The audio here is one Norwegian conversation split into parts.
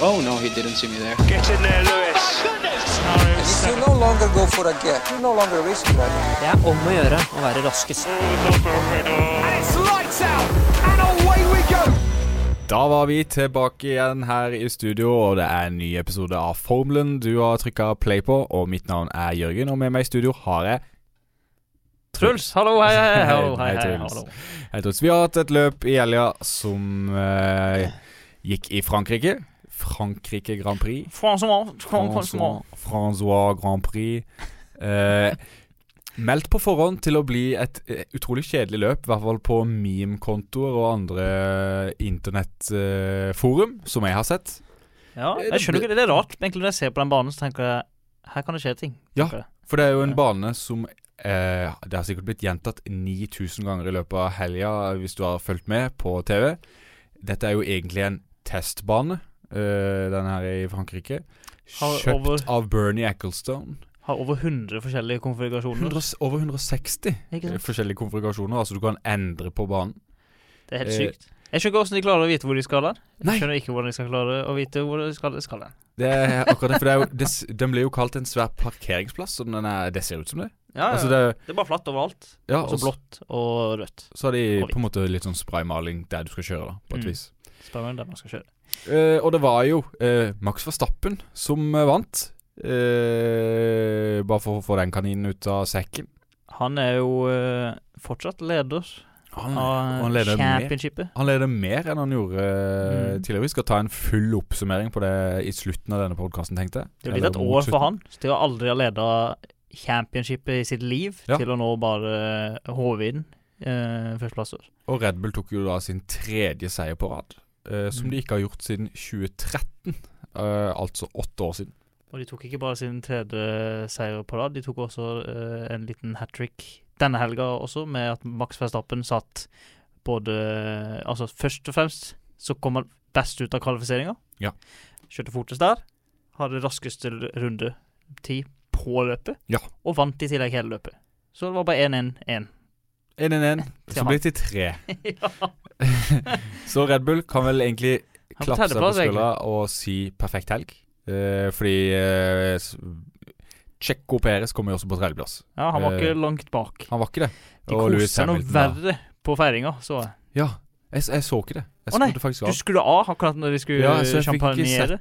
Oh no, he didn't see me there. Get in there, Lewis. If you no longer go for a gap, you no longer risk that. Det er om å gjøre å være raskest. Da var vi tilbake igjen her i studio, og det er en ny episode av Formelen du har trykka play på. Og mitt navn er Jørgen, og med meg i studio har jeg Truls, hallo, hei, hei, hei, hallo, hei, hei, Truls. hallo. Jeg tror Vi har hatt et løp i helga som eh, gikk i Frankrike. Frankrike Grand Prix. Francois, Francois. Francois, Francois Grand Prix. Eh, meldt på forhånd til å bli et eh, utrolig kjedelig løp, i hvert fall på meme-kontoer og andre eh, internettforum som jeg har sett. Ja, jeg skjønner ikke, det er rart. Egentlig når jeg ser på den banen, så tenker jeg her kan det skje ting. Ja. tenker jeg. For det er jo en Ja. bane som eh, Det har sikkert blitt gjentatt 9000 ganger i løpet av helga, hvis du har fulgt med på TV. Dette er jo egentlig en testbane, eh, den her i Frankrike. Har Kjøpt over- av Bernie Ecclestone. Har over 100 forskjellige konfigurasjoner. 100, over 160 Ikke sant? forskjellige konfigurasjoner, altså du kan endre på banen. Det er helt Eh, sykt. Jeg skjønner ikke hvordan de klarer å vite hvor de skal den. Nei. Jeg skjønner ikke hvordan de skal klare å vite hvor de skal, skal den. Det er akkurat det, for det er jo, det, s- den blir jo kalt en svær parkeringsplass, og den er, det ser ut som det. Ja, ja. Altså det, det er bare flatt overalt. ja, altså- Og så blått og rødt. så har de og på en måte litt sånn spraymaling der du skal kjøre, da, på et Mm. vis. Spør meg der man skal kjøre. Eh, og det var jo eh, Max Verstappen som eh, vant. Eh, bare for å få den kaninen ut av sekken. Han er jo eh, fortsatt leder Han, Ah. og han, av leder mer, championshipet. han leder mer enn han gjorde eh, Mm. tidligere. Vi skal ta en full oppsummering på det i slutten av denne podkasten, tenkte jeg. Det har blitt et Eller mot år slutten. for han til å aldri ha leda championshipet i sitt liv, Ja. til å nå bare håve inn eh, førsteplasser. Og Red Bull tok jo da sin tredje seier på rad, eh, som Mm. de ikke har gjort siden 2013. eh, altså åtte år siden. Og de tok ikke bare sin tredje seier på rad, de tok også eh, en liten hat trick denne helga også, med at Max Verstappen satt både Altså først og fremst så kom han best ut av kvalifiseringa. Ja. Kjørte fortest der. Hadde raskeste l- runde ti på løpet. Ja. Og vant i tillegg hele løpet. Så det var bare 1-1-1. 1-1-1. Så han. blir det til tre. ja. Så Red Bull kan vel egentlig Han klappe seg på tredjeplass, skuldra og si perfekt helg. Eh, fordi eh, s- Checo Perez kommer jo også på tredjeplass. ja, han var Eh, ikke langt bak. Han var ikke det. De og koste Lewis seg noe Hamilton, da. verre på feiringa, så jeg. Ja, jeg, s- jeg så ikke det. Jeg Å, nei, skrudde faktisk Du av. skulle av akkurat når de skulle Ja, ja, så jeg fikk ikke sjampanjere.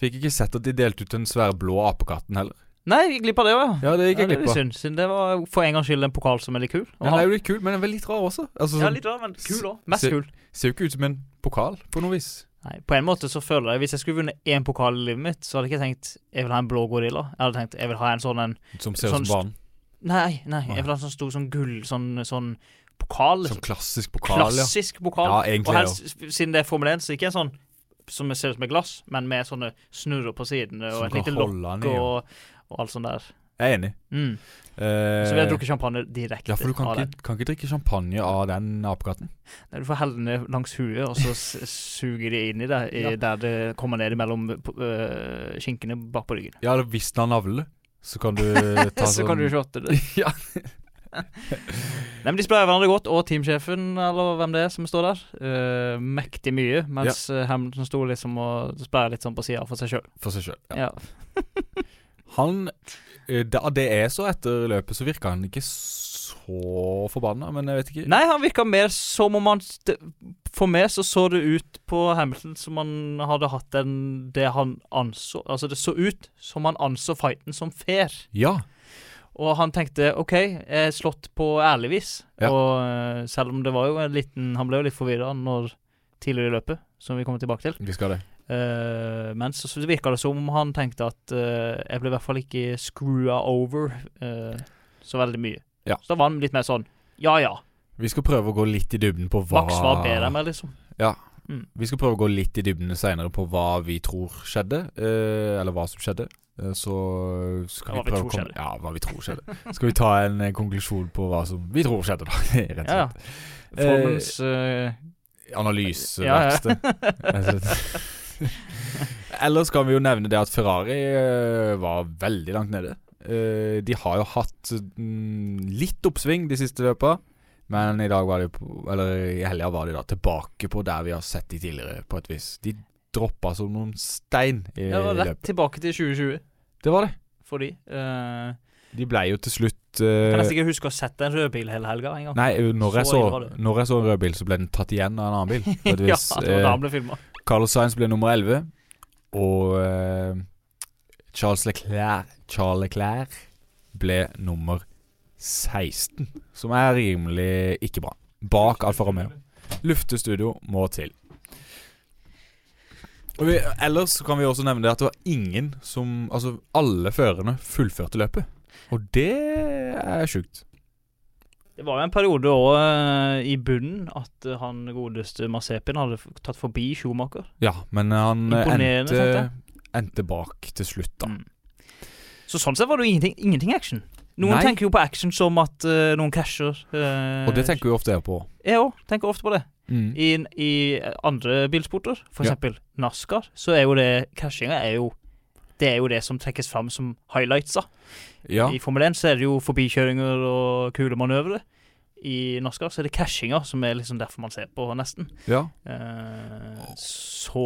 Fikk ikke sett at de delte ut den svære blå apekatten heller. Nei, vi gikk glipp av det òg, ja. Ja, det gikk Ja, jeg det er glipp litt av. synd, siden det var for en gangs skyld en pokal som er litt kul. Og Den er han, jo litt kul, men den er vel litt rar også. Altså, ja, sånn, litt rar, men kul òg. Se- Mest kul. Ser jo ikke ut som en pokal, på noe vis. Nei, på en måte så føler jeg Hvis jeg skulle vunnet én pokal i livet mitt, så hadde jeg ikke tenkt jeg vil ha en blå gorilla. Jeg hadde tenkt jeg vil ha en sånn en Som ser Sånn ut som banen. Nei, nei, jeg vil ha en sånn stor sånn gull sånn, sånn pokal. Som Liksom. klassisk pokal, ja. Klassisk pokal. Ja, Og egentlig. ja. helst, siden det er Formel 1, så ikke en sånn som ser ut som et glass, men med sånne snurrer på sidene Eh, og Som et lite kan lokk holde den i. ja. og, og alt sånt der. Jeg er enig. Mm. Eh, Så vil jeg drukke champagne direkte Ja, for du kan av den. ikke, kan ikke drikke champagne av den apekatten. Nei, Du får helle den ned langs huet, og så s- suger det inn i deg i- Ja. der det kommer ned mellom eh, skinkene bak på ryggen. Ja, eller hvis den har navle, så kan du ta Så sånn kan du shotte det. Ja. Nei, men De sprayer hverandre godt, og teamsjefen, eller hvem det er som står der, eh, mektig mye, mens eh, Hamilton sto liksom og spraya litt sånn på sida for seg sjøl. for seg sjøl. Ja. Ja. Han eh, Da det er så etter løpet, så virka han ikke så forbanna, men jeg vet ikke. Nei, han virka mer som om han st- For meg så så det ut på Hamilton som han hadde hatt en Det han anså Altså, det så ut som han anså fighten som fair. Ja. Og han tenkte OK, jeg er slått på ærlig vis. Ja. Og eh, selv om det var jo en liten Han ble jo litt forvirra når tidligere i løpet, som vi kommer tilbake til. Vi skal det. Eh, men så, så virka det som om han tenkte at eh, jeg ble i hvert fall ikke screwa over eh, så veldig mye. Ja. Så da var han litt mer sånn ja ja, Vi skal prøve å gå litt i dybden på hva Max var bedre enn meg, liksom. Vi skal prøve å gå litt i dybden seinere på hva vi tror skjedde, eh, eller hva som skjedde. Eh, Så skal Ja, hva vi vi prøve tror å komme skjedde. Ja, hva vi tror skjedde. Skal vi ta en eh, konklusjon på hva som vi tror skjedde, da? Rett og slett. Ja, ja. Formens eh, Analyseverksted. Ellers kan vi jo nevne det at Ferrari eh, var veldig langt nede. Eh, De har jo hatt mm, litt oppsving de siste løpa, men i dag var de på, eller i helga var de da tilbake på der vi har sett de tidligere, på et vis. De droppa som noen stein i Det var rett løpet. tilbake til 2020 Det var det. for de. Eh, De ble jo til slutt kan eh, nesten ikke huske å ha sett en rødbil hele helga en gang. Nei, når jeg, Så så, ille var det. når jeg så en rød bil, så ble den tatt igjen av en annen bil. På et ja, vis. det var da Eh, han ble filma. Carlos Sainz ble nummer 11, og eh, Charles Leclerc Charles Leclerc ble nummer 16, som er rimelig ikke bra. Bak Alfa Romeo. Luftestudio må til. Og vi, ellers så kan vi også nevne det at det var ingen som Altså, alle førerne fullførte løpet. Og det er sjukt. Det var jo en periode òg i bunnen at eh, han godeste Marsepin hadde f- tatt forbi Schumacher. Ja, men han eh, Imponerende, endte, endte bak til slutt, da. Mm. Så sånn sett var det jo ingenting, ingenting action. Noen Nei. tenker jo på action som at eh, noen krasjer. eh, Og det tenker vi ofte på. Jeg òg tenker ofte på det. Mm. I, i andre bilsporter, for Ja. eksempel NASCAR, så er jo det krasjinga er jo det er jo det som trekkes fram som highlights. da. Ja. I Formel 1 så er det jo forbikjøringer og kule manøvre. I NASCAR så er det krasjinger som er liksom derfor man ser på, nesten. ja. Eh, så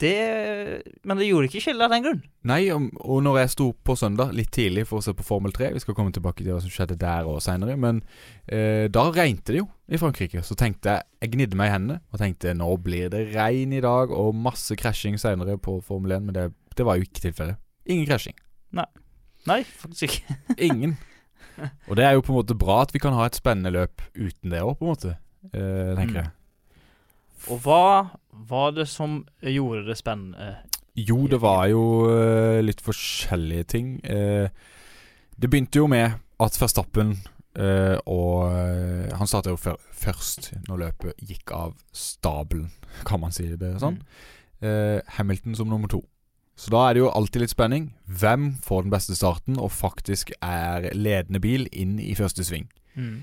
det Men det gjorde ikke skille av den grunn. Nei, om- og når jeg sto opp på søndag litt tidlig for å se på Formel 3 Vi skal komme tilbake til hva som skjedde der og seinere, men eh, da regnet det jo i Frankrike. Så tenkte jeg Jeg gnidde meg i hendene og tenkte nå blir det regn i dag og masse krasjing seinere på Formel 1, men det, det var jo ikke tilfellet. Ingen krasjing. Nei, faktisk ikke. Ingen. Og det er jo på en måte bra at vi kan ha et spennende løp uten det òg, på en måte. Eh, tenker jeg. Og hva var det som gjorde det spennende? Jo, det var jo eh, litt forskjellige ting. Eh, det begynte jo med at Verstappen eh, og eh, Han starta jo før, først når løpet gikk av stabelen, kan man si det sånn. Eh, Hamilton som nummer to. Så da er det jo alltid litt spenning. Hvem får den beste starten og faktisk er ledende bil inn i første sving? Mm.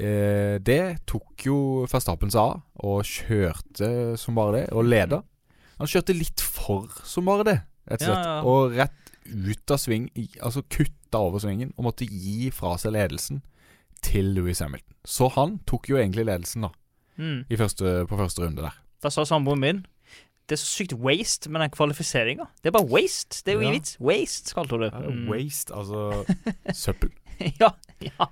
Eh, det tok jo Verstappen seg av, og kjørte som bare det, og leda. Han kjørte litt for som bare det, rett og Ja, slett. ja. Og rett ut av sving, i- altså kutta over svingen, og måtte gi fra seg ledelsen til Louis Hamilton. Så han tok jo egentlig ledelsen, da, Mm. i første, på første runde der. Da sa samboeren min det er så sykt waste med den kvalifiseringa. Det er bare waste. Det er jo Ja. ingen vits. Waste, kalte hun det. Mm. Waste, altså søppel. ja, ja.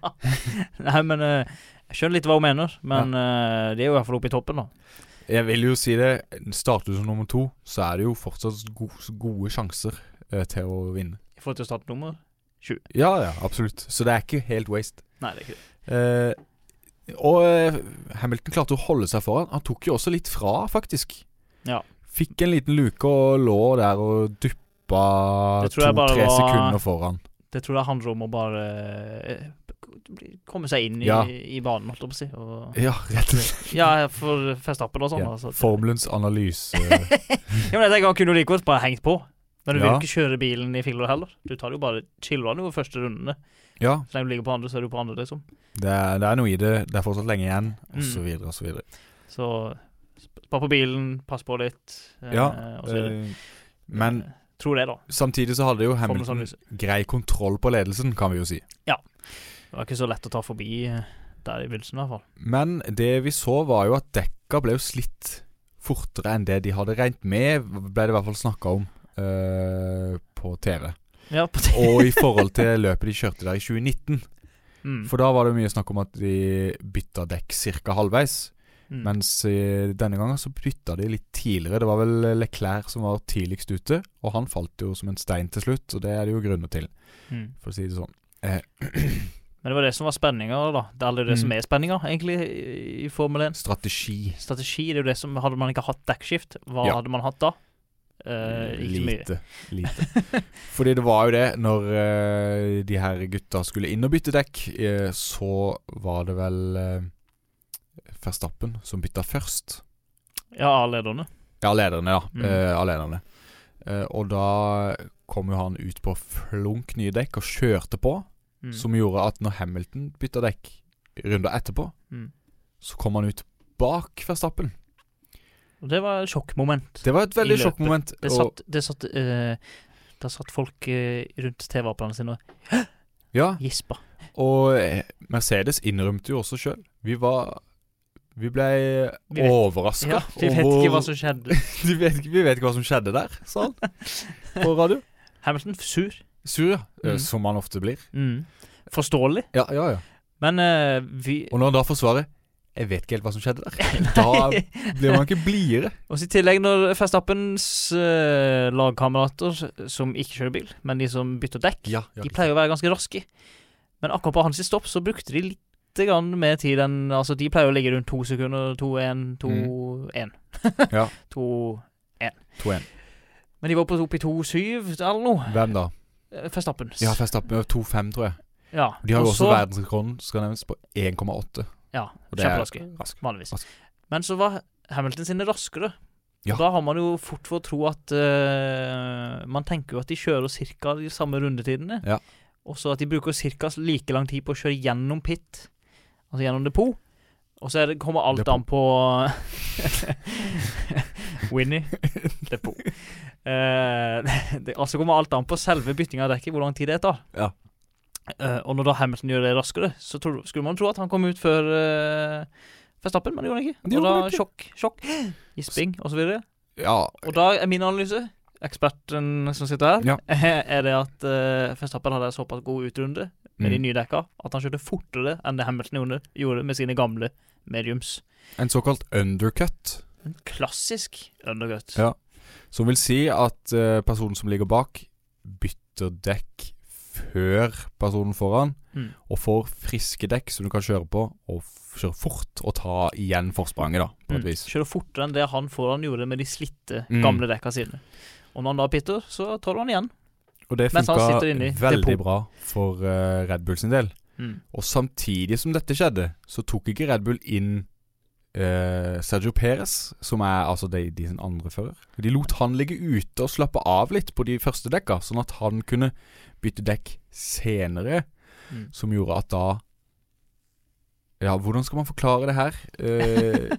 Nei, men eh, jeg skjønner litt hva hun mener. Men eh, de er jo i hvert fall oppe i toppen, da. Jeg vil jo si det, starter du som nummer to, så er det jo fortsatt go- gode sjanser eh, til å vinne. I forhold til startnummer. Ja, ja, absolutt. Så det er ikke helt waste. Nei, det er ikke det. Eh, og eh, Hamilton klarte å holde seg foran. Han tok jo også litt fra, faktisk. Ja. Fikk en liten luke og lå der og duppa Det tror jeg bare to-tre var- sekunder foran. Det tror jeg handler om å bare eh, komme seg inn i, Ja. i banen, holdt jeg på å si. Og, Ja, rett og slett. ja, for Verstappen og sånn. Ja, altså. Formelens analyse Ja, men jeg tenker Han kunne jo like godt bare hengt på. Men du vil Ja. jo ikke kjøre bilen i filler heller. Du tar det jo bare chiller den jo første rundene. Ja, Så lenge du ligger på andre, så er du på andre, liksom. det er, det er noe i det. Det er fortsatt lenge igjen, og så Mm. videre og så videre. Så sp- spar på bilen, pass på litt. eh, Ja, og så videre. eh, men Eh, Tror det, da. samtidig så hadde jo Formel Hamilton Sandnes. grei kontroll på ledelsen, kan vi jo si. Det var ikke så lett å ta forbi eh, der i begynnelsen, i hvert fall. Men det vi så var jo at dekka ble jo slitt fortere enn det de hadde regnet med, ble det i hvert fall snakka om eh, på TV. Ja, på det. Og i forhold til løpet de kjørte der i 2019. Mm, For da var det mye snakk om at de bytta dekk ca. halvveis. mm. Mens eh, denne gangen så bytta de litt tidligere. Det var vel Leclerc som var tidligst ute, og han falt jo som en stein til slutt. Og det er det jo grunner til, mm. for å si det sånn. Men det var det som var spenninga, da. Det er aldri Mm. det som er spenninga, egentlig, i- i Formel 1. Strategi. Strategi det er jo det som Hadde man ikke hatt dekkskift, hva Ja. hadde man hatt da? Eh, ikke så mye. lite. lite. Fordi det var jo det, når eh, de her gutta skulle inn og bytte dekk, eh, så var det vel eh, Verstappen som bytta først. Ja, A-lederne. Ja, lederne, ja. Mm. Eh, av lederne. Eh, og da kom jo han ut på flunk nye dekk og kjørte på, Mm. som gjorde at når Hamilton bytta dekk runder etterpå, Mm. så kom han ut bak Verstappen. Og det var et sjokkmoment. Det, Det var et veldig I løpet. sjokkmoment. og- satt, det satt eh, Da satt folk eh, rundt TV-apparatene sine og Ja, gispa. Og eh, Mercedes innrømte jo også sjøl. Vi var Vi ble Vi vet- overraska. Ja, vi vet ikke hva som skjedde. vi, vet, ikke- vi vet ikke hva som skjedde der, sa han på radio. Hamilton sur. Sur, ja. Eh, Mm. Som han ofte blir. Mm. Forståelig. Ja, ja, ja. Men eh, vi Og når han da får svaret 'Jeg vet ikke helt hva som skjedde der', da blir man ikke blidere. Og så I tillegg, når Verstappens eh, lagkamerater som ikke kjører bil, men de som bytter dekk, Ja, ja, de pleier å være ganske raske. Men akkurat på hans stopp så brukte de litt grann mer tid enn Altså, de pleier å ligge rundt to sekunder, to, en, to, en. Mm. Ja. To To igjen. Men de var oppe, oppe i to, syv eller noe. Hvem da? Eh, Verstappens. De har Verstappen 2-5, tror jeg. Ja. De har jo Og også så- verdensrekorden, skal nevnes, på 1,8. Ja, Og det er kjemperaske. rask. Vanligvis. Rask. Men så var Hamilton sine raskere. Ja. Og Da har man jo fort for å tro at eh, Man tenker jo at de kjører ca. de samme rundetidene. Ja. Og så at de bruker ca. like lang tid på å kjøre gjennom pit, altså gjennom depot. Og så er det, kommer alt Depot. an på Winnie depot. Eh, det, altså kommer alt an på selve byttinga av dekket, hvor lang tid det tar. Ja. Eh, og når da Hamilton gjør det raskere, så tror, skulle man tro at han kom ut før uh, Verstappen, men det gjorde han ikke. Det gjorde og da han ikke. sjokk, sjokk, gisping osv. Ja, Og da er min analyse, eksperten som sitter her, Ja. er det at uh, Verstappen hadde en såpass god utrunde med de Mm. nye dekka at han kjørte fortere enn det Hamilton gjorde, gjorde med sine gamle mediums. En såkalt undercut. En klassisk undergut. Ja. Som vil si at eh, personen som ligger bak, bytter dekk før personen foran, Mm. og får friske dekk som du kan kjøre på, og f kjøre fort og ta igjen forspranget, da, på et Mm. vis. Kjører fortere enn det han foran gjorde med de slitte, Mm. gamle dekka sine. Og når han da pitter, så tar han igjen. Og det Mens han funka sitter inne i veldig depot. bra for eh, Red Bull sin del. Mm. Og samtidig som dette skjedde, så tok ikke Red Bull inn eh, Sergio Perez, som er altså de, de sin andre fører. De lot han ligge ute og slappe av litt på de første dekka, sånn at han kunne bytte dekk senere, Mm. som gjorde at da Ja, hvordan skal man forklare det her? Eh,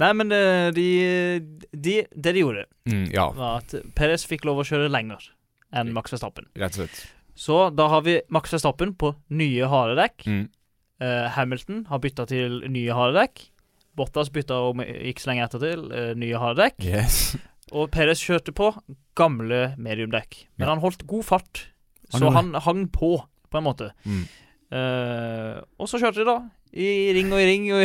Nei, men eh, de, de Det de gjorde, mm, ja, var at Perez fikk lov å kjøre lenger enn Max Verstappen. rett og slett. Så da har vi Max Verstappen på nye harde dekk. Mm. Eh, Hamilton har bytta til nye harde dekk. Bottas bytta om ikke så lenge etter til eh, nye harde Mm. dekk. Yes. Og Perez kjørte på gamle mediumdekk. Men Ja. han holdt god fart, Han så gjorde han hang på, på en måte. Mm. Eh, og så kjørte de, da. I ring og i ring. Og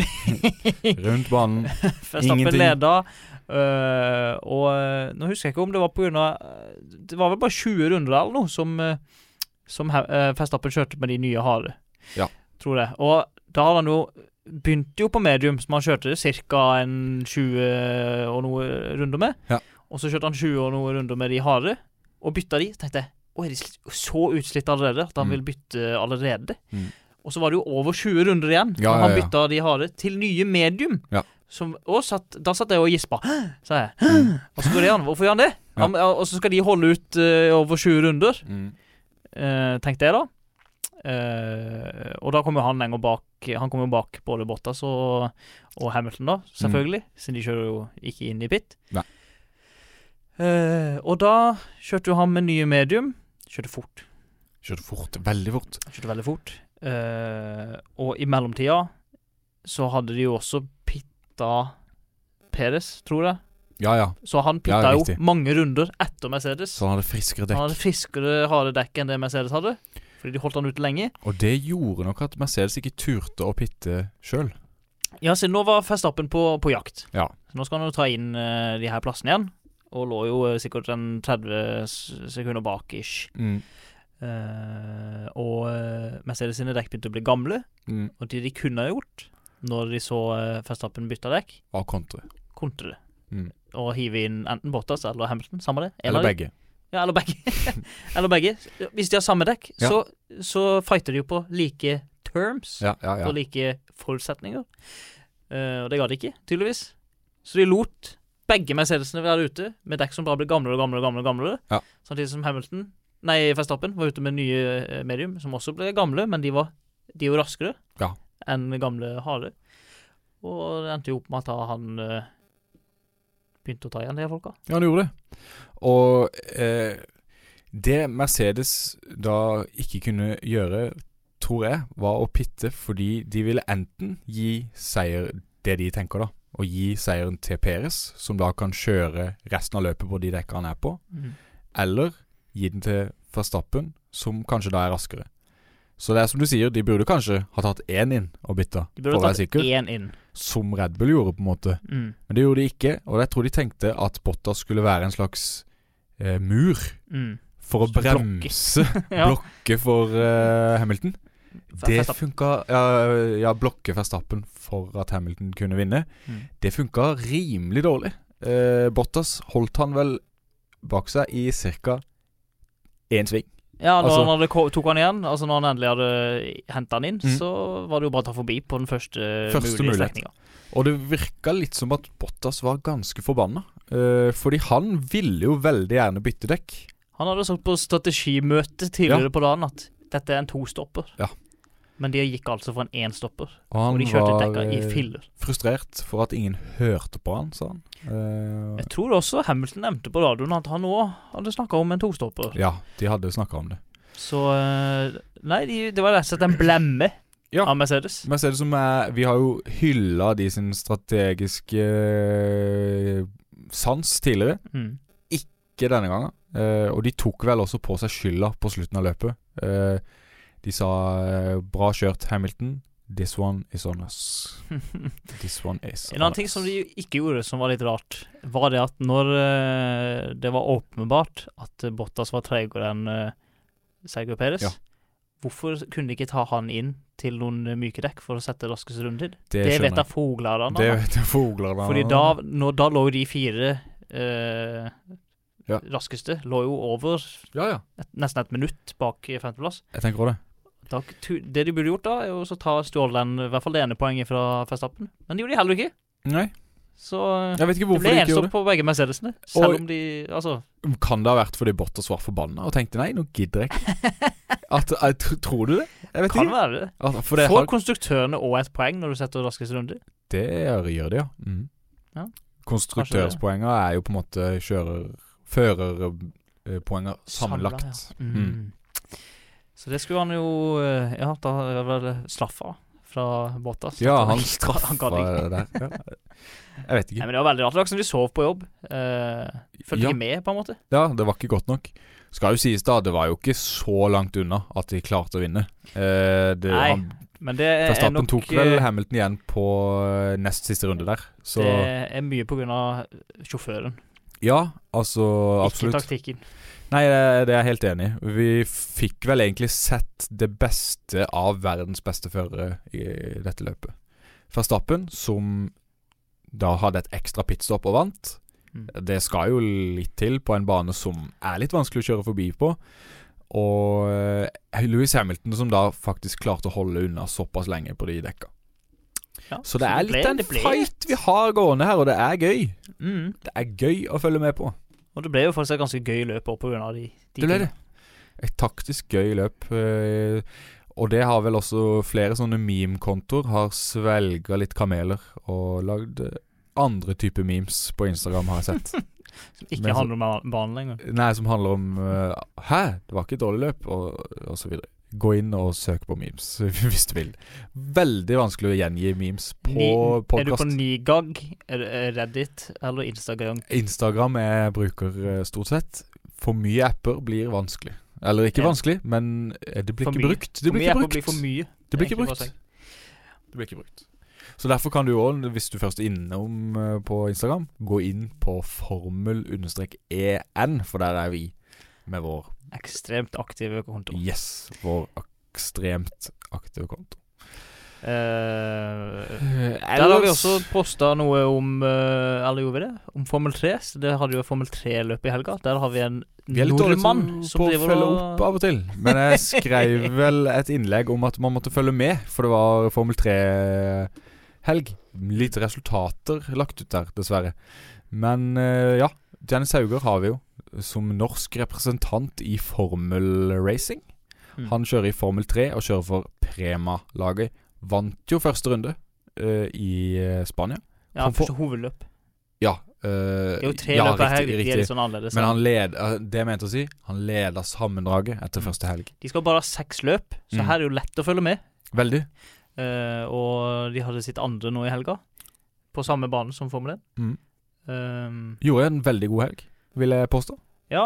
i Rundt banen. Verstappen Ingenting. leda. eh, og eh, nå husker jeg ikke om det var på grunn av eh, Det var vel bare 20 runder eller noe som, eh, som uh, Verstappen kjørte med de nye harde. Ja. Tror det. Og da hadde han jo Begynte jo på medium, som han kjørte ca. 20 og noe runder med. Ja. Og så kjørte han 20 og noe runder med de harde, og bytta de. Så tenkte jeg å, er de slitt, så utslitt allerede at han Mm. vil bytte allerede? Mm. Og så var det jo over 20 runder igjen, Ja, og ja, han ja. bytta de harde til nye medium. Ja. Som, og satt, da satt jeg og gispa, sa jeg. Mm, Og så gjorde han, Hvorfor gjør han det? Ja. Han, og så skal de holde ut eh, over 20 runder. Mm. Eh, tenkte jeg da. Eh, og da kom jo han lenger bak Han kom jo bak både Bottas og, og Hamilton, da, selvfølgelig. Siden de kjører jo ikke inn i pit. Mm. Nei. Eh, og da kjørte jo han med nye medium. Kjørte fort. Kjørte fort. Veldig fort. Kjørte veldig fort. Eh, og i mellomtida så hadde de jo også pitta Perez, tror jeg. Ja, ja. Så han Ja, pitta jo riktig. mange runder etter Mercedes. Så han hadde friskere dekk. Han hadde friskere, harde dekk enn det Mercedes hadde. Fordi de holdt han ute lenge. Og det gjorde nok at Mercedes ikke turte å pitte sjøl. Ja, så nå var Verstappen på, på jakt. Ja. Så nå skal han jo ta inn eh, de her plassene igjen. Og lå jo eh, sikkert en 30 s- sekunder bak, ish. Mm. Eh, og eh, Mercedes sine dekk begynte å bli gamle. Mm. Og det de kunne ha gjort når de så eh, Verstappen bytta dekk, Av kontre. kontre det. Mm. Og hive inn enten Bottas eller Hamilton, samme det. En Eller av de. begge. Ja, eller begge. eller begge. Hvis de har samme dekk, Ja. så, så fighter de jo på like terms. Ja, ja, på ja. like forutsetninger. Eh, og det ga de ikke, tydeligvis. Så de lot begge Mercedesene være ute med dekk som bare ble gamlere og gamlere. og gamlere, og gamlere. Ja. Samtidig som Hamilton, nei, Verstappen var ute med nye eh, medium, som også ble gamle, men de var de er jo raskere Ja. enn gamle harde. Og det endte jo opp med at da han eh, begynte å ta igjen de her folka. ja, han gjorde det. Og eh, det Mercedes da ikke kunne gjøre, tror jeg, var å pitte fordi de ville enten gi seier det de tenker, da. Og gi seieren til Peres, som da kan kjøre resten av løpet på de dekka han er på. Eller gi den til Verstappen, som kanskje da er raskere. Så det er som du sier, de burde kanskje ha tatt én inn og bytta, De for burde å være tatt sikker. én inn. Som Red Bull gjorde, på en måte. Mm. Men det gjorde de ikke, og jeg tror de tenkte at Bottas skulle være en slags eh, mur Mm. for å Som blokke. bremse, Ja. blokke for eh, Hamilton. Ver- Det Verstappen. funka ja, ja, blokke Verstappen for at Hamilton kunne vinne. Mm. Det funka rimelig dårlig. Eh, Bottas holdt han vel bak seg i ca. én sving. Ja, når Altså- han hadde, ko- tok han igjen, altså når han endelig hadde henta han inn, Mm. så var det jo bare å ta forbi på den første, Første mulige mulighet. strekninga. Og det virka litt som at Bottas var ganske forbanna. Eh, fordi han ville jo veldig gjerne bytte dekk. Han hadde sagt på strategimøte tidligere på dagen at dette er en tostopper. Ja. Men de gikk altså for en énstopper, Og han og de kjørte var dekka i eh, filler. frustrert for at ingen hørte på han, sa han. Eh, Jeg tror også Hamilton nevnte på radioen at han òg hadde snakka om en tostopper. ja, de hadde snakka om det. Så eh, Nei, de, det var rett og slett en blemme Ja. av Mercedes. Men ser det som er, vi har jo hylla de sin strategiske eh, sans tidligere. Mm. Ikke denne gangen. Eh, og de tok vel også på seg skylda på slutten av løpet. Eh, de sa eh, 'bra kjørt, Hamilton'. This one is on us. This one is En annen ting som de ikke gjorde som var litt rart, var det at når eh, det var åpenbart at eh, Bottas var treigere enn eh, Sergio Perez, Ja. hvorfor kunne de ikke ta han inn til noen eh, myke dekk for å sette raskest rundetid? Det, Det vet skjønner da jeg. fuglerne. Det da. vet jeg fogler Fordi da, når, da lå jo de fire eh, Ja. raskeste lå jo over Ja, ja. et, nesten et minutt bak eh, femteplass. Jeg tenker også det. Da, tu- det de burde gjort da, er jo å ta Stjålen i hvert fall det ene poenget fra Verstappen. Men det gjorde de heller ikke. Nei, Så eh, jeg vet ikke Det hvorfor ble de ikke gjorde enstopp på begge Mercedesene. Selv Og- om de Altså, det. Kan det ha vært fordi Bottas var forbanna og tenkte 'nei, nå gidder jeg ikke'? At, jeg tr- tror du det? Jeg vet kan ikke. være det. At, for det Får har- konstruktørene òg et poeng når du setter raskest runde? Det gjør gjør det, ja. Mm. Ja. Konstruktørspoenga er jo på en måte kjører førerpoenga sammenlagt. Samla, ja. mm. Så det skulle han jo eh, Ja, da er det vel straffa fra Bottas. Ja, han straffa straffa der. Ja. Jeg vet Nei, ikke. men Det var veldig rart. Det var ikke som de sov på jobb. Eh, Følte Ja. ikke med, på en måte. Ja, det var ikke godt nok. Skal jo sies, da, det var jo ikke så langt unna at de klarte å vinne. Eh, det, Nei, han, Men det er Verstappen nok eh, tok vel Hamilton igjen på eh, nest siste runde der. Så Det er mye på grunn av sjåføren, ja, altså ikke absolutt. taktikken. Nei, det, det er jeg helt enig i. Vi fikk vel egentlig sett det beste av verdens beste førere i dette løpet. Verstappen, som da hadde et ekstra pitstop og vant. Mm. Det skal jo litt til på en bane som er litt vanskelig å kjøre forbi på. Og eh, Lewis Hamilton, som da faktisk klarte å holde unna såpass lenge på de dekka. Ja, Så det er ble- litt en det ble- fight vi har gående her, og det er gøy. Mm. Det er gøy å følge med på. Og det ble jo faktisk et ganske gøy løp òg, på grunn av de, Det de ble tingene. det. Et taktisk gøy løp. eh, Og det har vel også flere sånne meme-kontoer har svelga litt kameler og lagd eh, andre typer memes på Instagram, har jeg sett. Som ikke Men så- handler om banen lenger. Nei, som handler om eh, Hæ, det var ikke et dårlig løp, og, og så videre. Gå inn og søk på memes hvis du vil. Veldig vanskelig å gjengi memes Ni- på Er du på podkast. Nygag, er det- er Reddit eller Instagram? Instagram jeg bruker eh, stort sett. For mye apper blir vanskelig. Eller ikke Ja. vanskelig, men eh, det blir For ikke mye. brukt. Det For blir mye apper ikke blir for brukt. mye. Det blir ikke egentlig brukt. bare å si. Det blir ikke brukt. Så derfor kan du òg, hvis du først er innom eh, på Instagram, gå inn på formel-en, for der er vi med vår Ekstremt aktive konto. Yes, vår ekstremt aktive konto. Eh, der har vi Ellers også posta noe om eh, Eller gjorde vi det? Om Formel 3. Så det hadde jo Formel 3-løpet i helga. Der har vi en vi er litt dårlige nordmann til- som på å driver følge og opp av og til. Men jeg skrev vel et innlegg om at man måtte følge med, for det var Formel 3-helg. Lite resultater lagt ut der, dessverre. Men eh, ja, Janice Hauger har vi jo som norsk representant i formelracing. Mm. Han kjører i Formel 3 og kjører for Prema-laget. Vant jo første runde eh, i eh, Spania. Ja, Han får- første hovedløp. Ja, Eh, Det er jo tre ja, løp hver riktig, helg, de er riktig. litt sånn annerledes. Men han led, eh, det jeg mente å si, han leda sammendraget etter første helg. De skal bare ha seks løp, Mm. så Mm. her er det jo lett å følge med. Veldig. Eh, og de hadde sitt andre nå i helga, på samme bane som Formel 1. Mm. Eh, Gjorde en veldig god helg, vil jeg påstå. ja,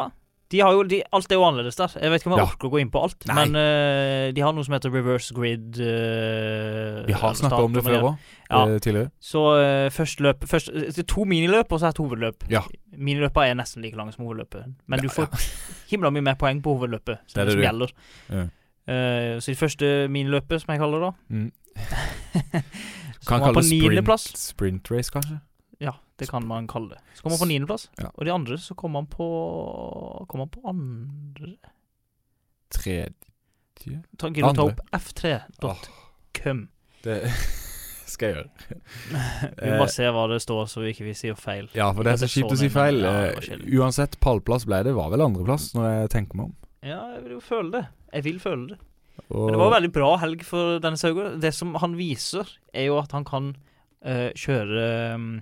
de har jo, de, alt er jo annerledes der. Jeg vet ikke om jeg Ja. orker å gå inn på alt, Nei. men eh, de har noe som heter reverse grid. eh, Vi har snakka start om det på med før òg, Ja. tidligere. Så eh, først løp først, Det er to miniløp og så et hovedløp. Ja. Miniløpene er nesten like lange som hovedløpet, men Ja, du får himla mye mer poeng på hovedløpet. Det Som er det, det som du- gjelder. Ja. Eh, så det første miniløpet, som jeg kaller det, da Mm. Så Kan kom kalle han på det niendeplass. sprint, sprint race, kanskje. Ja, det kan man kalle det. Så kom han på niendeplass, Ja. og de andre så kom han på Kom han på andre Tredje Ta, Gidder du ta Andre. opp f3.com? Det skal jeg gjøre. Vi Eh. må bare se hva det står, så vi ikke vi sier feil. Ja, for det er Ja, så det kjipt så å si vi, men feil. ja, det Eh, var sjelden. Uansett, pallplass ble det. Var vel andreplass, når jeg tenker meg om. Ja, jeg vil jo føle det. Jeg vil føle det. Og Men det var en veldig bra helg for denne Saugo. Det som han viser, er jo at han kan eh, kjøre mm,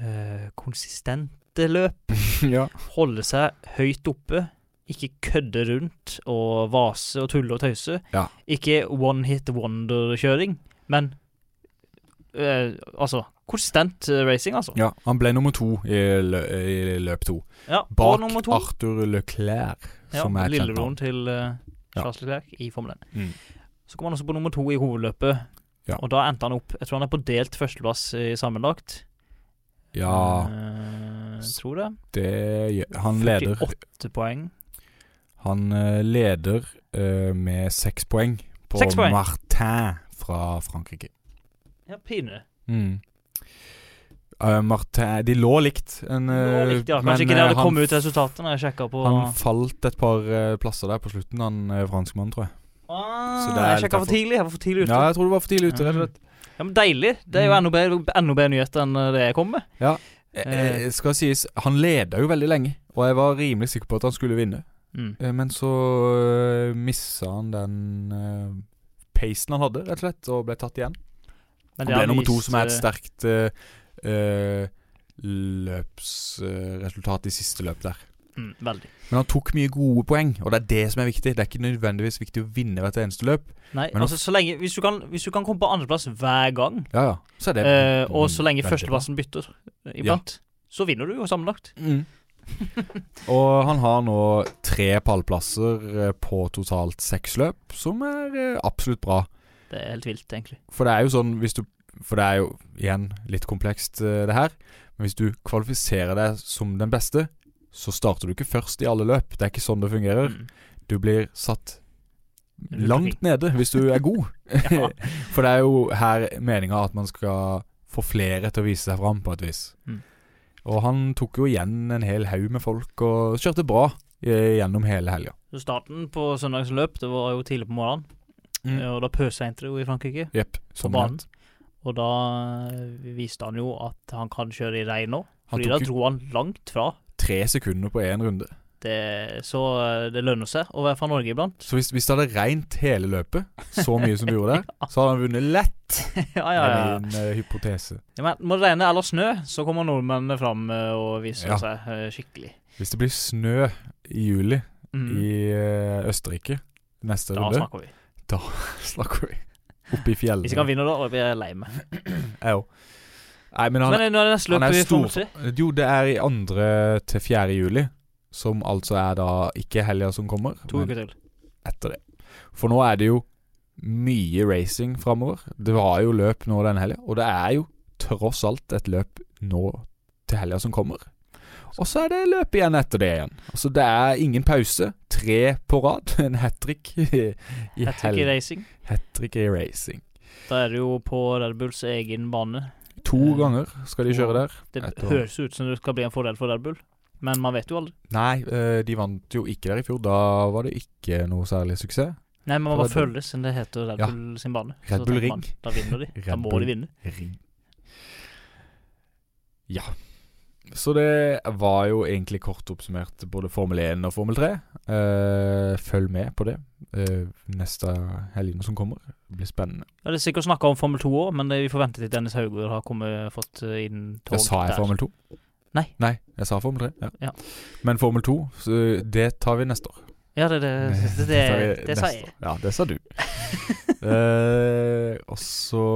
eh, konsistente løp, ja. holde seg høyt oppe, ikke kødde rundt og vase og tulle og tøyse. Ja. Ikke one hit wonder-kjøring, men eh, altså konsistent eh, racing, altså. ja, han ble nummer to i, lø i løp to. Ja, og Bak nummer to- Arthur Leclerc, som er kjent lillebroren navn. til eh, Ja. Charles Leclerc i Formel 1. Mm. Så kom han også på nummer to i hovedløpet, Ja. og da endte han opp Jeg tror han er på delt førsteplass i sammenlagt. Ja, Eh, tror det. det gjør Han leder, 48 poeng. han eh, leder eh, med seks poeng på Seks poeng. Martin fra Frankrike. Ja, pinlig. Mm. Eh, Martin De lå likt, en, Det var eh, riktig, ja. men, Kanskje ikke det eh, hadde han kommet ut resultatet når jeg sjekka på Han falt et par eh, plasser der på slutten, han eh, franskmannen, tror jeg. ah, så det er Jeg litt sjekka for derfor- tidlig. Jeg var for tidlig ute. Ja, Ja, jeg tror det var for tidlig ute, rett og slett. men Deilig. Det er jo Mm. enda bedre, enda bedre nyheter enn eh, det jeg kom med. Eh, eh, skal sies, han leda jo veldig lenge, og jeg var rimelig sikker på at han skulle vinne. Mm. Eh, men så eh, missa han den eh, pacen han hadde, rett og slett, og ble tatt igjen. Men Han ble nummer to, viste- som er et sterkt eh, eh, løpsresultat i siste løp der. mm, Veldig. Men han tok mye gode poeng, og det er det som er viktig. Det er ikke nødvendigvis viktig å vinne hvert eneste løp. Nei, Men altså så lenge Hvis du kan, hvis du kan komme på andreplass hver gang Ja, ja. Så er det Eh, og så Mm, veldig lenge bra. førsteplassen bytter eh, iblant, så vinner du jo sammenlagt. Mm. Og han har nå tre pallplasser eh, på totalt seks løp, som er eh, absolutt bra. Det er helt vilt, egentlig. For det er jo sånn hvis du For det er jo igjen litt komplekst, eh, det her. Men hvis du kvalifiserer deg som den beste, så starter du ikke først i alle løp. Det er ikke sånn det fungerer. Mm. Du blir satt Rundt langt nede hvis du er god. Ja. For det er jo her meninga at man skal få flere til å vise seg fram, på et vis. Mm. Og han tok jo igjen en hel haug med folk, og kjørte bra eh, gjennom hele helga. Så starten på søndagens løp, det var jo tidlig på morgenen, eh, og da pøsregnet det jo i Frankrike. Jepp. På Mm. Som banen. nevnt. Og da eh, viste han jo at han kan kjøre i regn nå, Han fordi da tok jo dro han langt fra. tre sekunder på én runde. Det, så eh, det lønner seg å være fra Norge iblant. Så hvis, hvis det hadde regnet hele løpet, så mye som det gjorde der, så hadde han vunnet lett, ja, er ja, ja. min eh, hypotese. ja men må det regne eller snø, så kommer nordmennene fram eh, og viser Ja. seg eh, skikkelig. Hvis det blir snø i juli Mm. i eh, Østerrike neste Da runde, snakker vi. snakker vi. Oppe i fjellene. Hvis ikke han vinner da, blir jeg lei meg. Jeg òg. Nei, men han, Men eh, nå er det neste Han løp er i stor. Formel 3. Jo, det er i 2. til 4. juli, som altså er da ikke helga som kommer, To men uker til. etter det. For nå er det jo mye racing framover. Det var jo løp nå denne helga, og det er jo tross alt et løp nå til helga som kommer. Og så er det løp igjen etter det igjen. Altså det er ingen pause. Tre på rad. En hat trick i Jeg tror ikke racing. Hat trick i racing. Da er det jo på Red Bulls egen bane. To Eh, ganger skal de kjøre der. Det Et år. høres ut som det skal bli en fordel for Red Bull, men man vet jo aldri. Nei, eh, de vant jo ikke der i fjor. Da var det ikke noe særlig suksess. Nei, men man For Red bare Bull. føler det, siden det heter Red Ja. Bull sin bane. Red Så Bull tenker man, Ring. Da vinner de. Da Red må Bull. de vinne. Ring. Ja. Så det var jo egentlig kort oppsummert både Formel 1 og Formel 3. Eh, følg med på det eh, neste helgen som kommer. Det blir spennende. Ja, det er sikkert snakka om Formel 2 òg, men det, vi får vente til Dennis Hauger har kommet, fått eh, inn tog Det sa jeg der. Formel 2. Nei. Nei, jeg sa Formel 3. Ja. Ja. Men Formel 2, så det tar vi neste år. Ja, det, det, det, det, det, tar vi det sa neste jeg. år. Ja, det sa du. eh, og så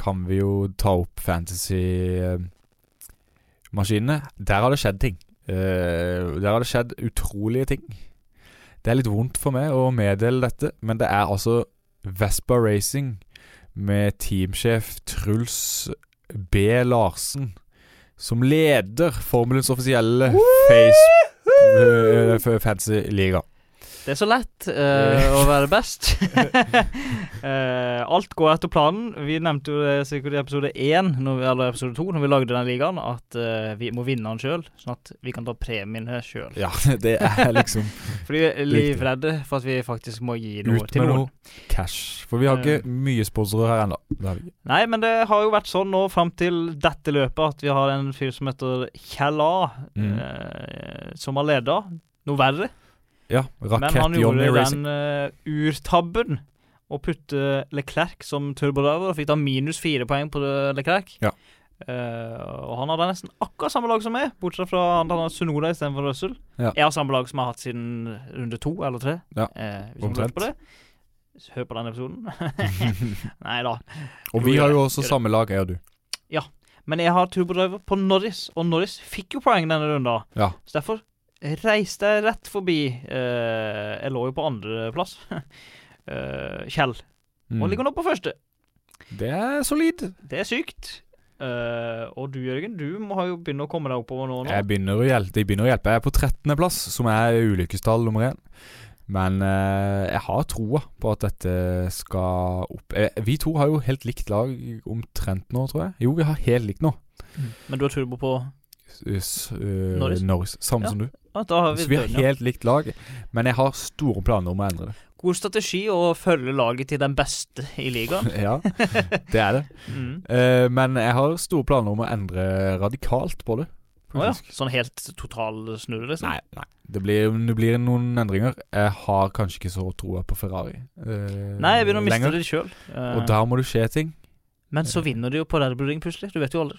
kan vi jo ta opp fantasy-maskinene. Der har det skjedd ting. Eh, der har det skjedd utrolige ting. Det er litt vondt for meg å meddele dette, men det er altså Vespa Racing med teamsjef Truls B. Larsen som leder Formelens offisielle face- eh, fantasy-liga. Det er så lett eh, å være best. Eh, alt går etter planen. Vi nevnte jo det sikkert i episode 1, når vi, eller episode 2, når vi lagde den ligaen, at eh, vi må vinne den sjøl, sånn at vi kan ta premiene sjøl. Ja, det er liksom Fordi vi er livredde for at vi faktisk må gi noe ut til med noen. noe cash. For vi har Eh. ikke mye sponsorer her ennå. Det har vi ikke. Nei, men det har jo vært sånn nå fram til dette løpet at vi har en fyr som heter Kjell A, Mm. eh, som har leda. Noe verre. Ja, Men han Rakett Johnny gjorde Racing. den eh, urtabben å putte Leclerc som turbodriver og fikk da minus fire poeng på det, Leclerc. Ja. Eh, og han hadde nesten akkurat samme lag som meg, bortsett fra han hadde Sunoda istedenfor Russell. Ja. Jeg har samme lag som jeg har hatt siden runde to eller tre. Ja, Eh, hvis man lurer omtrent. på det. Hør på den episoden. Nei da. Og vi har jo også Gjør det. samme lag, jeg og du. Men jeg har turbodriver på Norris, og Norris fikk jo poeng denne runden. Ja. Så derfor reiste jeg rett forbi eh, Jeg lå jo på andreplass. Eh, Kjell. Mm. Og ligger nå på første. Det er solid. Det er sykt. Eh, og du, Jørgen, du må ha jo begynne å komme deg oppover nå. nå. Jeg begynner å hjelpe. Jeg, begynner å hjelpe. jeg er på 13. plass, som er ulykkestall nummer én. Men eh, jeg har troa på at dette skal opp. Eh, vi to har jo helt likt lag omtrent nå, tror jeg. Jo, vi har helt likt nå. Men du har turbo på S eh, Norris. Norris. Samme Ja. som du. ja, Da har vi Så vi har døgnet. helt likt lag, men jeg har store planer om å endre det. God strategi å følge laget til den beste i ligaen. ja, det er det. Mm. Eh, men jeg har store planer om å endre radikalt på det. Å ja. Sånn helt total snurre, liksom? Nei, nei. Det blir, det blir noen endringer. Jeg har kanskje ikke så troa på Ferrari eh, Nei, jeg begynner å miste det sjøl. Og der må det skje ting. men så vinner de jo på Red Bull Ring plutselig. Du vet jo aldri.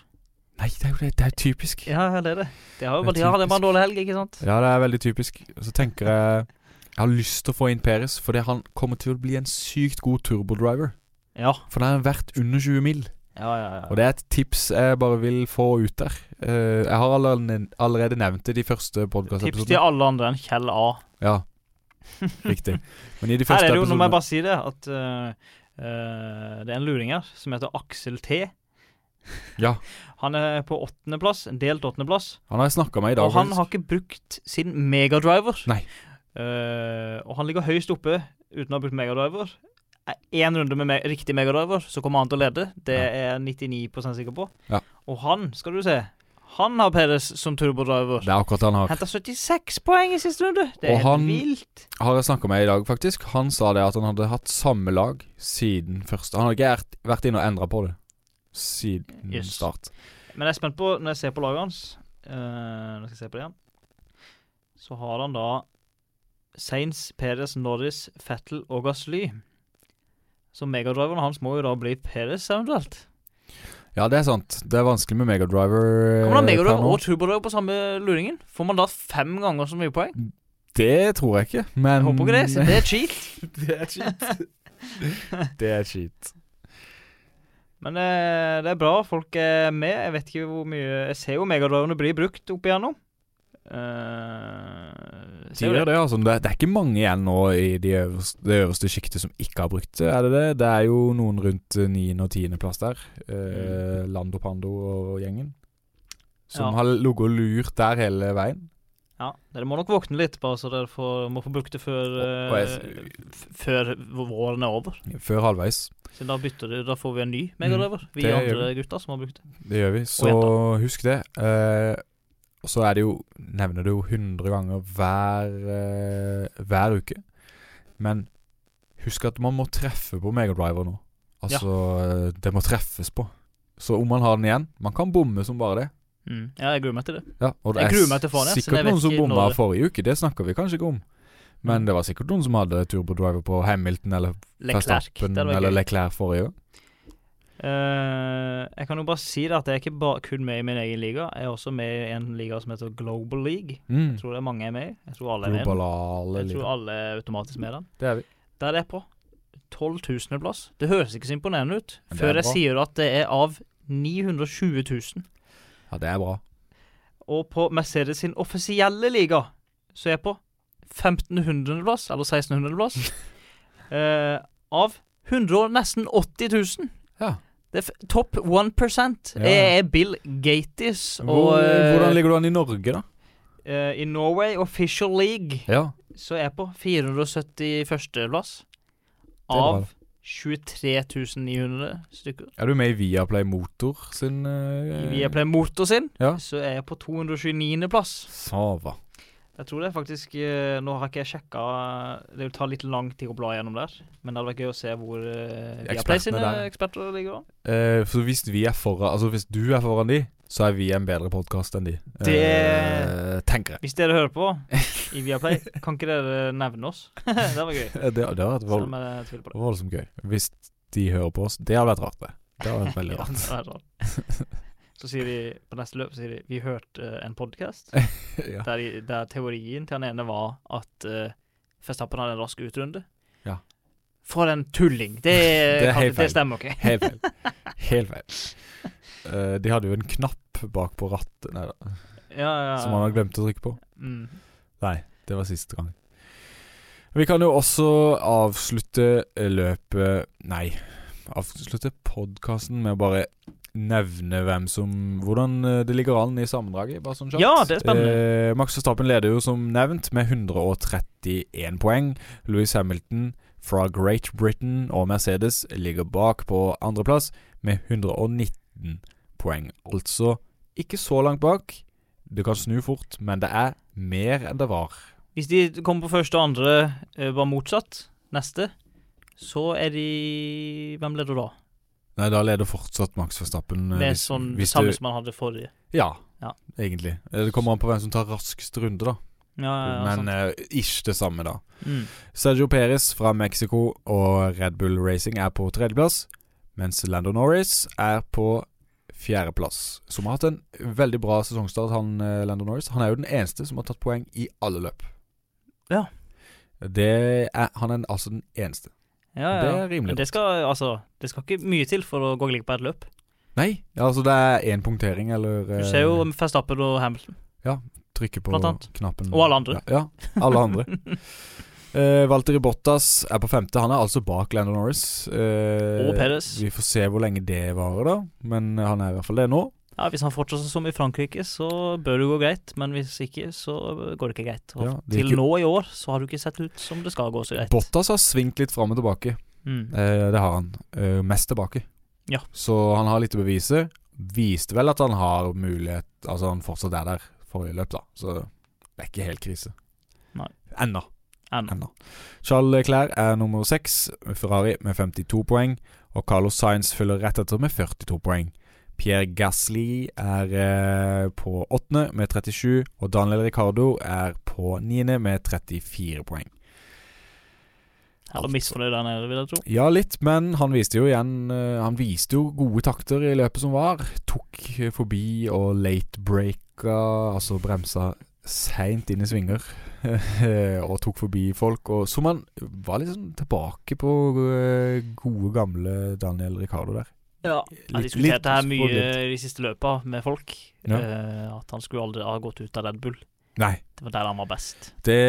Nei, det er jo det. Det er typisk. Ja, ja, det er det. Det har Det er jo bare, de har det bare typisk. en dårlig helg, ikke sant? Ja, det er veldig typisk. Så tenker jeg Jeg har lyst til å få inn Peres, fordi han kommer til å bli en sykt god turbodriver. Ja. For han har vært under 20 mil. Ja, ja, ja. Og det er et tips jeg bare vil få ut der. Eh, jeg har allerede, allerede nevnt det i de første Tips til podkastepisodene. alle andre enn Kjell A. Ja, riktig. Men i de Her første er det jo, nå episodene må jeg bare si det, at eh, eh, det er en luring her som heter Aksel T. Ja. Han er på åttendeplass, en delt åttendeplass, Han har jeg snakka med i dag. og han faktisk. har ikke brukt sin megadriver. Nei. Eh, og han ligger høyst oppe uten å ha brukt megadriver. Én runde med me riktig megadriver, så kommer han til å lede. Det Ja. er jeg 99 sikker på. Ja. Og han, skal du se, han har Peres som turbodriver. Det er akkurat det han har. Henta 76 poeng i siste runde. Det Og er helt han- vilt. Har jeg snakka med i dag, faktisk. Han sa det at han hadde hatt samme lag siden første Han hadde ikke vært- vært inne og endra på det siden Yes. start. Men jeg er spent på, når jeg ser på laget hans eh, Nå skal jeg se på det igjen. Så har han da Sainz, Perez, Norris, Fettel og Gasly. Så megadriveren hans må jo da bli Perez, eventuelt. Ja, det er sant. Det er vanskelig med megadriver. eh, Kan man ha per megadriver nå. og turbodriver på samme luringen? Får man da fem ganger så mye Um, poeng? Det tror jeg ikke, men Jeg håper ikke det, så det er cheat. det er cheat. det er cheat. Men eh, det er bra folk er med. Jeg vet ikke hvor mye Jeg ser jo megadriverne blir brukt opp igjennom. Eh, ser De jo gjør det, altså. Det, det er ikke mange igjen nå i de øverste, det øverste sjiktet som ikke har brukt det. Er det det? Det er jo noen rundt 9. og 10. plass der. Eh, Lando Pando og gjengen. Som Mm. har Ja. ligget og lurt der hele veien. Ja, dere må nok våkne litt, bare så dere får, må få brukt det før, Og- og eh, f- før våren er over. Før halvveis. Så da bytter du, da får vi en ny megadriver. Vi Mm. det gjør andre gutter som har brukt det. Det gjør vi. Så husk det. Eh, og så er det jo Nevner det jo 100 ganger hver, eh, hver uke. Men husk at man må treffe på megadriver nå. Altså, eh, det må treffes på. Så om man har den igjen Man kan bomme som bare det. Mm. Ja, jeg gruer meg til det. Ja, og Jeg det er gruer meg til faen, jeg, siden jeg sikkert vet noen som ikke bomma når det- forrige uke. Det snakker vi kanskje ikke om. Men det var sikkert noen som hadde turbodriver på Hamilton eller Leclerc. Det Verstappen hadde vært eller gøy. Leclerc forrige gang. Eh, jeg kan jo bare si det at jeg er ikke bare, kun med i min egen liga. Jeg er også med i en liga som heter Global League. Mm. Jeg tror det er mange jeg er med i. Jeg tror alle er med. i den. Globale Jeg tror liv. alle er automatisk med i den. Det er vi. Der er jeg på 12.000 plass. Det høres ikke så imponerende ut, Men det er før jeg bra. sier at det er av 920 000. Ja, det er bra. Og på Mercedes sin offisielle liga så er jeg på 1500. plass, eller 1600. plass, eh, av 100 og nesten 80 000. Ja. Det er f- topp 1 Ja. er Bill Gatis. Hvor, Og eh, hvordan ligger du an i Norge, da? eh, i Norway Official League Ja. så er jeg på 471. plass er bra, av 23.900 stykker. Er du med i Viaplay Motor sin eh, I Viaplay Motor sin Ja. så er jeg på 229. plass. Sava. Jeg tror det er faktisk eh, Nå har ikke jeg sjekka Det vil ta litt lang tid å bla gjennom der. Men det hadde vært gøy å se hvor uh, Viaplay Ekspertene sine der. eksperter ligger an. Eh, så hvis vi er foran Altså hvis du er foran de, så er vi en bedre podkast enn de. Det- Eh, tenker jeg. Hvis dere hører på i Viaplay, kan ikke dere nevne oss? det hadde vært gøy. Eh, Det, det har vært Selv vold, om jeg tviler på det. voldsomt gøy. Hvis de hører på oss. Det hadde vært rart, det. Det hadde vært veldig Ja, rart. det er rart. Så sier de på neste løp så sier de, Vi hørte eh, en podkast ja. der, i- der teorien til han ene var at uh, Festappen hadde en rask utrunde. Ja. For en tulling! Det, Det er kan, helt det feil. stemmer ikke. Helt feil. Helt feil. Eh, de hadde jo en knapp bak på rattet Nei da, Ja, ja. som han hadde glemt å trykke på. Mm. Nei, det var siste gang. Vi kan jo også avslutte løpet Nei, avslutte podkasten med å bare nevne hvem som Hvordan eh, det ligger an i sammendraget. Bare sånn kjapt. Ja, det er spennende. Eh, Max Verstappen leder jo som nevnt med 131 poeng. Louis Hamilton fra Great Britain og Mercedes ligger bak på andreplass med 119 poeng. Altså ikke så langt bak. Det kan snu fort, men det er mer enn det var. Hvis de kommer på første og andre eh, var motsatt, neste, så er de Hvem leder da? Nei, da leder fortsatt Max Verstappen. eh, Det er hvis- sånn det hvis samme du- som man hadde forrige. Ja, Ja. egentlig. Eh, Det kommer an på hvem som tar raskest runde, da. Ja, ja, ja, men sant. eh, ikke det samme, da. Mm. Sergio Perez fra Mexico og Red Bull Racing er på tredjeplass, mens Lando Norris er på fjerdeplass. Som har hatt en veldig bra sesongstart, han eh, Lando Norris. Han er jo den eneste som har tatt poeng i alle løp. Ja. Det er, han er altså den eneste. ja, ja. Det er rimelig Men det skal, altså, det skal ikke mye til for å gå glipp av et løp. Nei, altså det er én punktering, eller Du eh, ser jo Verstappen og Hamilton. trykke på Blant annet. knappen. Og alle andre. Ja, ja alle andre. Uh, Walter Bottas er på femte. Han er altså bak Landon Norris. Eh, Og Perez. Vi får se hvor lenge det varer, da. Men eh, han er i hvert fall det nå. Ja, Hvis han fortsetter som i Frankrike, så bør det gå greit. Men hvis ikke, så går det ikke greit. Og Ja, det til gikk jo- nå i år så har du ikke sett ut som det skal gå så greit. Bottas har svingt litt fram og tilbake. Mm. Eh, det har han. Eh, mest tilbake. Ja. Så han har litt å bevise. Viste vel at han har mulighet Altså, han fortsatt er der forrige løp, da. Så det er ikke helt krise. Nei. Ennå. Ennå. Ennå. Charles Leclerc er nummer seks, Ferrari med 52 poeng, og Carlos Sainz følger rett etter med 42 poeng. Pierre Gasli er eh, på åttende med 37, og Daniel Ricardo er på niende med 34 poeng. Eller misfornøyd der nede, vil jeg tro. Ja, litt, men han viste jo igjen eh, Han viste jo gode takter i løpet som var. Tok eh, forbi og late breaka, altså bremsa seint inn i svinger. og tok forbi folk. Og som han var litt sånn tilbake på eh, gode, gamle Daniel Ricardo der. Ja. Han Litt- diskuterte litt det her mye spor- litt. i de siste løpa med folk. Ja. eh, at han skulle aldri ha gått ut av Red Bull. Nei, Det var der han var best. det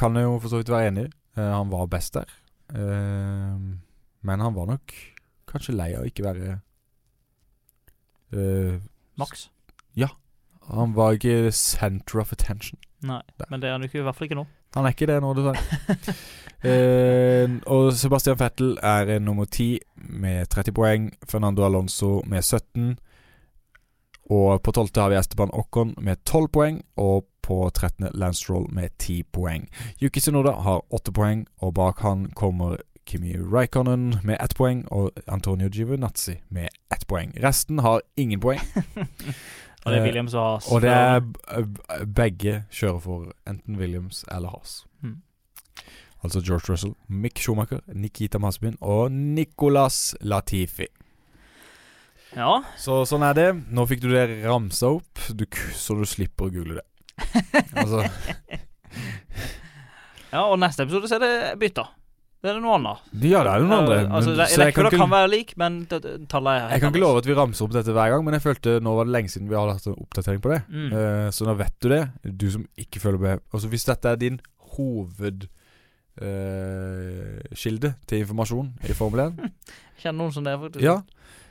kan jeg jo for så vidt være enig i. Eh, han var best der. Eh, men han var nok kanskje lei av ikke være eh, Max. Han var ikke center of attention. Nei, Der. men det er han jo ikke, i hvert fall ikke nå. Han er ikke det nå, dessverre. eh, og Sebastian Vettel er eh, nummer ti med 30 poeng. Fernando Alonso med 17. Og på tolvte har vi Esteban Ocon med 12 poeng. Og på trettende Lance Stroll med 10 poeng. Yuki Sunoda har 8 poeng, og bak han kommer Kimi Raikkonen med 1 poeng og Antonio Giovinazzi med 1 poeng. Resten har ingen poeng. Og det Eh, er Williams og Haas. Og det er b- b- begge kjører for enten Williams eller Haas. Mm. Altså George Russell, Mick Schumacher, Nikita Masbin og Nicolas Latifi. Ja. Så sånn er det. Nå fikk du det ramsa opp, du, k- så du slipper å google det. Altså, ja, og neste episode så er det bytta. Det er det noe annet. ja, det er jo noen andre. Eh, altså, men- re- så jeg kan Rekkefølgen kan ikke, være lik, men t- t- tallet er helt jeg kan ikke annerledes. love at vi ramser opp dette hver gang, men jeg følte nå var det lenge siden vi hadde hatt en oppdatering på det. Mm. Eh, så nå vet du det, du som ikke følger med. Altså, hvis dette er din hovedkilde eh, kilde til informasjon i Formel 1, Kjenner noen som det, faktisk. ja,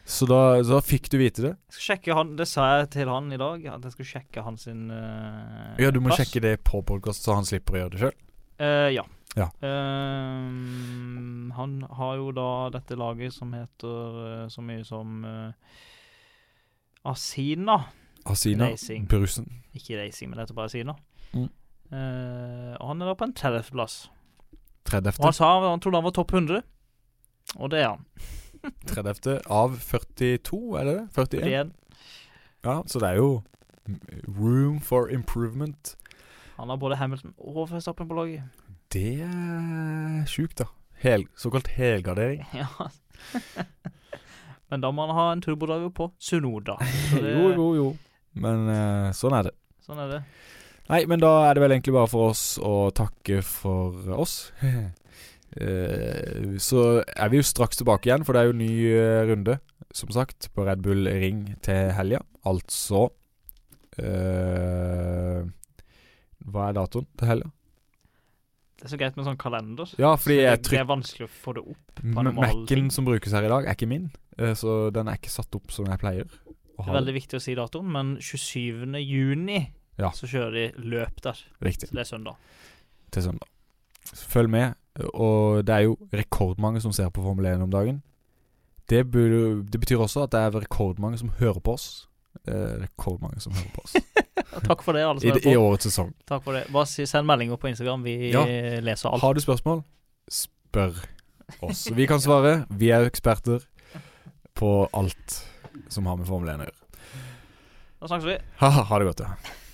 så da, så da fikk du vite det. Jeg skal sjekke han, Det sa jeg til han i dag, at jeg skulle sjekke han sin eh, Ja, du må plass. sjekke det på podkast, så han slipper å gjøre det sjøl. Eh, ja. Ja. Ehm, han har jo da dette laget som heter eh, så mye som eh, Asina. Asina Racing. Brusen. Ikke racing, men det heter bare Asina. Mm. Eh, og han er da på en 30.-plass. Og 30. han sa han trodde han var topp 100, og det er han. 30. av 42, er det det? 41? Fordi Ja, så det er jo room for improvement. han har både Hamilton og Verstappen på laget. Det er sjukt, da. Hel, såkalt helgardering. ja. men da må han ha en turbodriver på Sunoda. Så det- Jo, jo, jo. Men eh, sånn er det. Sånn er det. Nei, men da er det vel egentlig bare for oss å takke for oss. Eh, så er vi jo straks tilbake igjen, for det er jo ny eh, runde, som sagt, på Red Bull Ring til helga. Altså eh, Hva er datoen til helga? Det er så greit med sånn kalender. Ja, fordi det, jeg det trykker er vanskelig å få det opp. på en normal Mac-en ting. som brukes her i dag, er ikke min, eh, så den er ikke satt opp som jeg pleier. å Det er ha veldig viktig å si datoen, men 27. juni Ja. så kjører de løp der. Riktig. Så det er søndag. til søndag. sånn, Følg med, og det er jo rekordmange som ser på Formel 1 om dagen. Det, burde, det betyr også at det er rekordmange som hører på oss. Eh, rekordmange som hører på oss Og Takk for det, alle i, som i hører på. årets sesong. Takk for det. Bare si, send meldinger på Instagram. Vi Ja. leser alt. Har du spørsmål, spør oss. Vi kan svare. Vi er eksperter på alt som har med Formel 1 å gjøre. Da snakkes vi. Ha, ha det godt, ja.